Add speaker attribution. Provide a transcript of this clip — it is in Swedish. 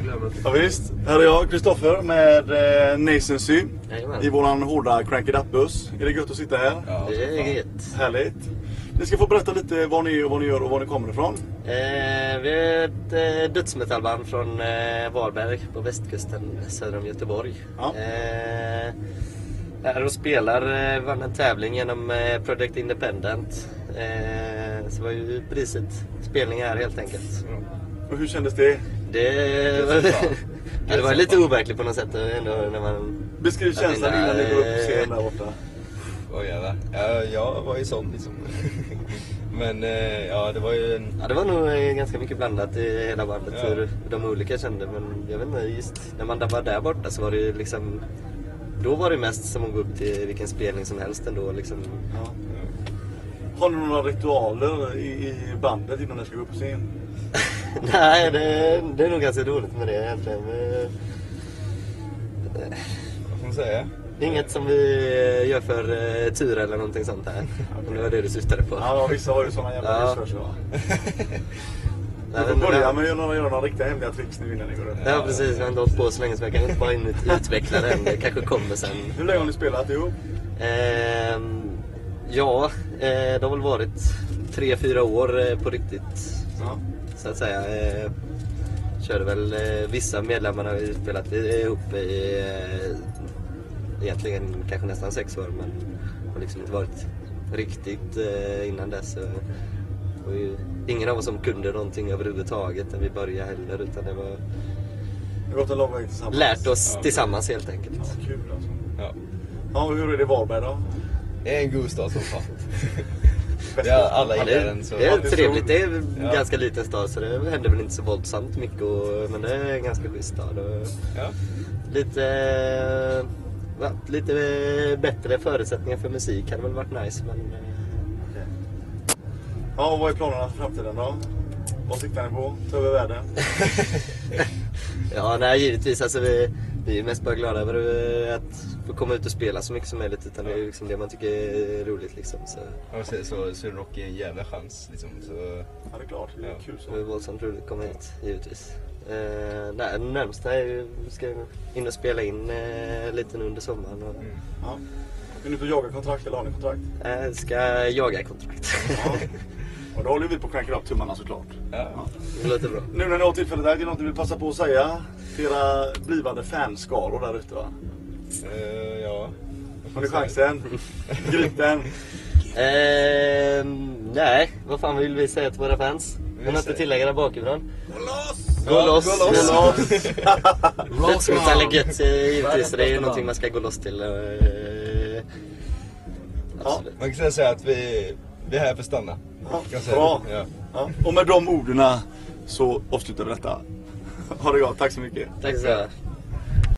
Speaker 1: programmet.
Speaker 2: Ja, visst. Här är jag, Kristoffer, med eh, Nascensy.
Speaker 3: Jajamän.
Speaker 2: I våran hårda Crank It Up-buss. Är det gött att sitta här?
Speaker 3: Det är gött.
Speaker 2: Härligt. Ni ska få berätta lite vad ni är och vad ni gör och var ni kommer ifrån.
Speaker 3: Eh, vi är ett eh, dödsmetallband från eh, Varberg på västkusten söder om Göteborg.
Speaker 2: Ja.
Speaker 3: Eh, är och spelar, eh, vann en tävling genom eh, Project Independent. Eh, så det var ju priset spelning här helt enkelt.
Speaker 2: Och hur kändes det?
Speaker 3: Det, det var lite overkligt på något sätt ändå när man
Speaker 2: Beskriv
Speaker 3: Att
Speaker 2: känslan
Speaker 3: vinna,
Speaker 2: innan ni går upp på
Speaker 3: eh,
Speaker 2: scenen där borta.
Speaker 4: Oj jävlar. Ja, jag var ju sån liksom. Men eh, ja, det var ju en...
Speaker 3: Ja, det var nog eh, ganska mycket blandat i hela bandet
Speaker 4: Ja.
Speaker 3: hur de olika kände. Men jag vet inte, just när man var där borta så var det ju liksom... Då var det mest som att gå upp till vilken spelning som helst ändå. Liksom.
Speaker 2: Ja. Har ni några ritualer i, i bandet innan ni ska gå upp på scen?
Speaker 3: Nej, det, det är nog ganska roligt med det egentligen. Eh,
Speaker 4: Vad får man säga?
Speaker 3: Det är inget som vi eh, gör för eh, tur eller någonting sånt här. Om det var det du syftade på.
Speaker 2: Ja, vissa har ju såna jävla
Speaker 3: Ja.
Speaker 2: ja. för sig va?
Speaker 3: Nej,
Speaker 2: Ni
Speaker 3: men-
Speaker 2: får börja med att göra några, göra några riktiga hemliga tricks nu innan ni går upp.
Speaker 3: Ja precis, jag har inte hållit på så länge så jag kan inte bara in- utveckla det än. Det kanske kommer sen.
Speaker 2: Hur länge har ni spelat ihop?
Speaker 3: Ehm, ja, eh, det har väl varit tre, fyra år eh, på riktigt.
Speaker 2: Ja.
Speaker 3: Så att säga. Eh, körde väl eh, vissa medlemmar har vi spelat i- ihop i eh, egentligen kanske nästan sex år men har liksom inte varit riktigt eh, innan dess. Och, och ju, ingen av oss som kunde någonting överhuvudtaget när vi började heller utan det var
Speaker 2: Ni har gått en lång väg tillsammans.
Speaker 3: lärt oss tillsammans helt enkelt.
Speaker 2: Ja, kul alltså.
Speaker 4: Ja.
Speaker 2: Ja, och hur är det i Varberg då?
Speaker 4: Det är en god stad som fan.
Speaker 2: Bäst
Speaker 4: Ja, alla
Speaker 3: Ja,
Speaker 4: gillar
Speaker 3: det,
Speaker 4: den så...
Speaker 3: det är
Speaker 2: det är
Speaker 3: trevligt.
Speaker 2: så-
Speaker 3: Det är en
Speaker 4: Ja.
Speaker 3: ganska liten stad så det händer väl inte så våldsamt mycket. Och, men det är en ganska schysst stad. Och
Speaker 4: Ja.
Speaker 3: lite, eh, ja, lite eh, bättre förutsättningar för musik hade väl varit nice. Men, eh,
Speaker 2: Ja, och vad är planerna för framtiden då? Vad siktar ni på? Ta över världen?
Speaker 3: ja, nej, givetvis. Alltså, vi, vi är mest bara glada över eh, att få komma ut och spela så mycket som möjligt. Utan det är ju liksom det man tycker är roligt. Liksom, så
Speaker 4: Om man säger så, så är rock en jävla chans liksom. Så...
Speaker 2: Ja, det är klart. Det är
Speaker 4: Ja.
Speaker 2: kul så.
Speaker 3: det är våldsamt roligt att komma hit, givetvis. Eh, nej, närmsta är ju, vi ska in och spela in eh, lite nu under sommaren. Och,
Speaker 2: Ja. Är ni ute och jagar kontrakt eller har ni kontrakt?
Speaker 3: Jag Eh, ska jaga kontrakt.
Speaker 2: Ja. Och då håller vi på att cranka upp tummarna såklart.
Speaker 4: Ja.
Speaker 3: Det låter bra.
Speaker 2: Nu när ni har tillfället här, är det något ni vill passa på att säga? Till era blivande fanskaror där ute va?
Speaker 4: Eh, ja.
Speaker 2: Har ni chansen? Grip den!
Speaker 3: Ehm, nej, vad fan vill vi säga till våra fans? Vill något att
Speaker 4: säger-
Speaker 3: tillägga där bakifrån?
Speaker 4: Gå ja,
Speaker 3: loss!
Speaker 4: Gå loss!
Speaker 3: Gå Dödsmetall är gött eh, givetvis, så det är ju någonting man ska gå loss till. eh, Absolut.
Speaker 4: Man kan säga så här att vi, vi är här för att stanna.
Speaker 2: Ja,
Speaker 4: Kan jag säga.
Speaker 2: bra!
Speaker 4: Ja.
Speaker 2: Ja. Och med de orden så avslutar vi detta. Ha det gott, tack så mycket!
Speaker 3: Tack så mycket.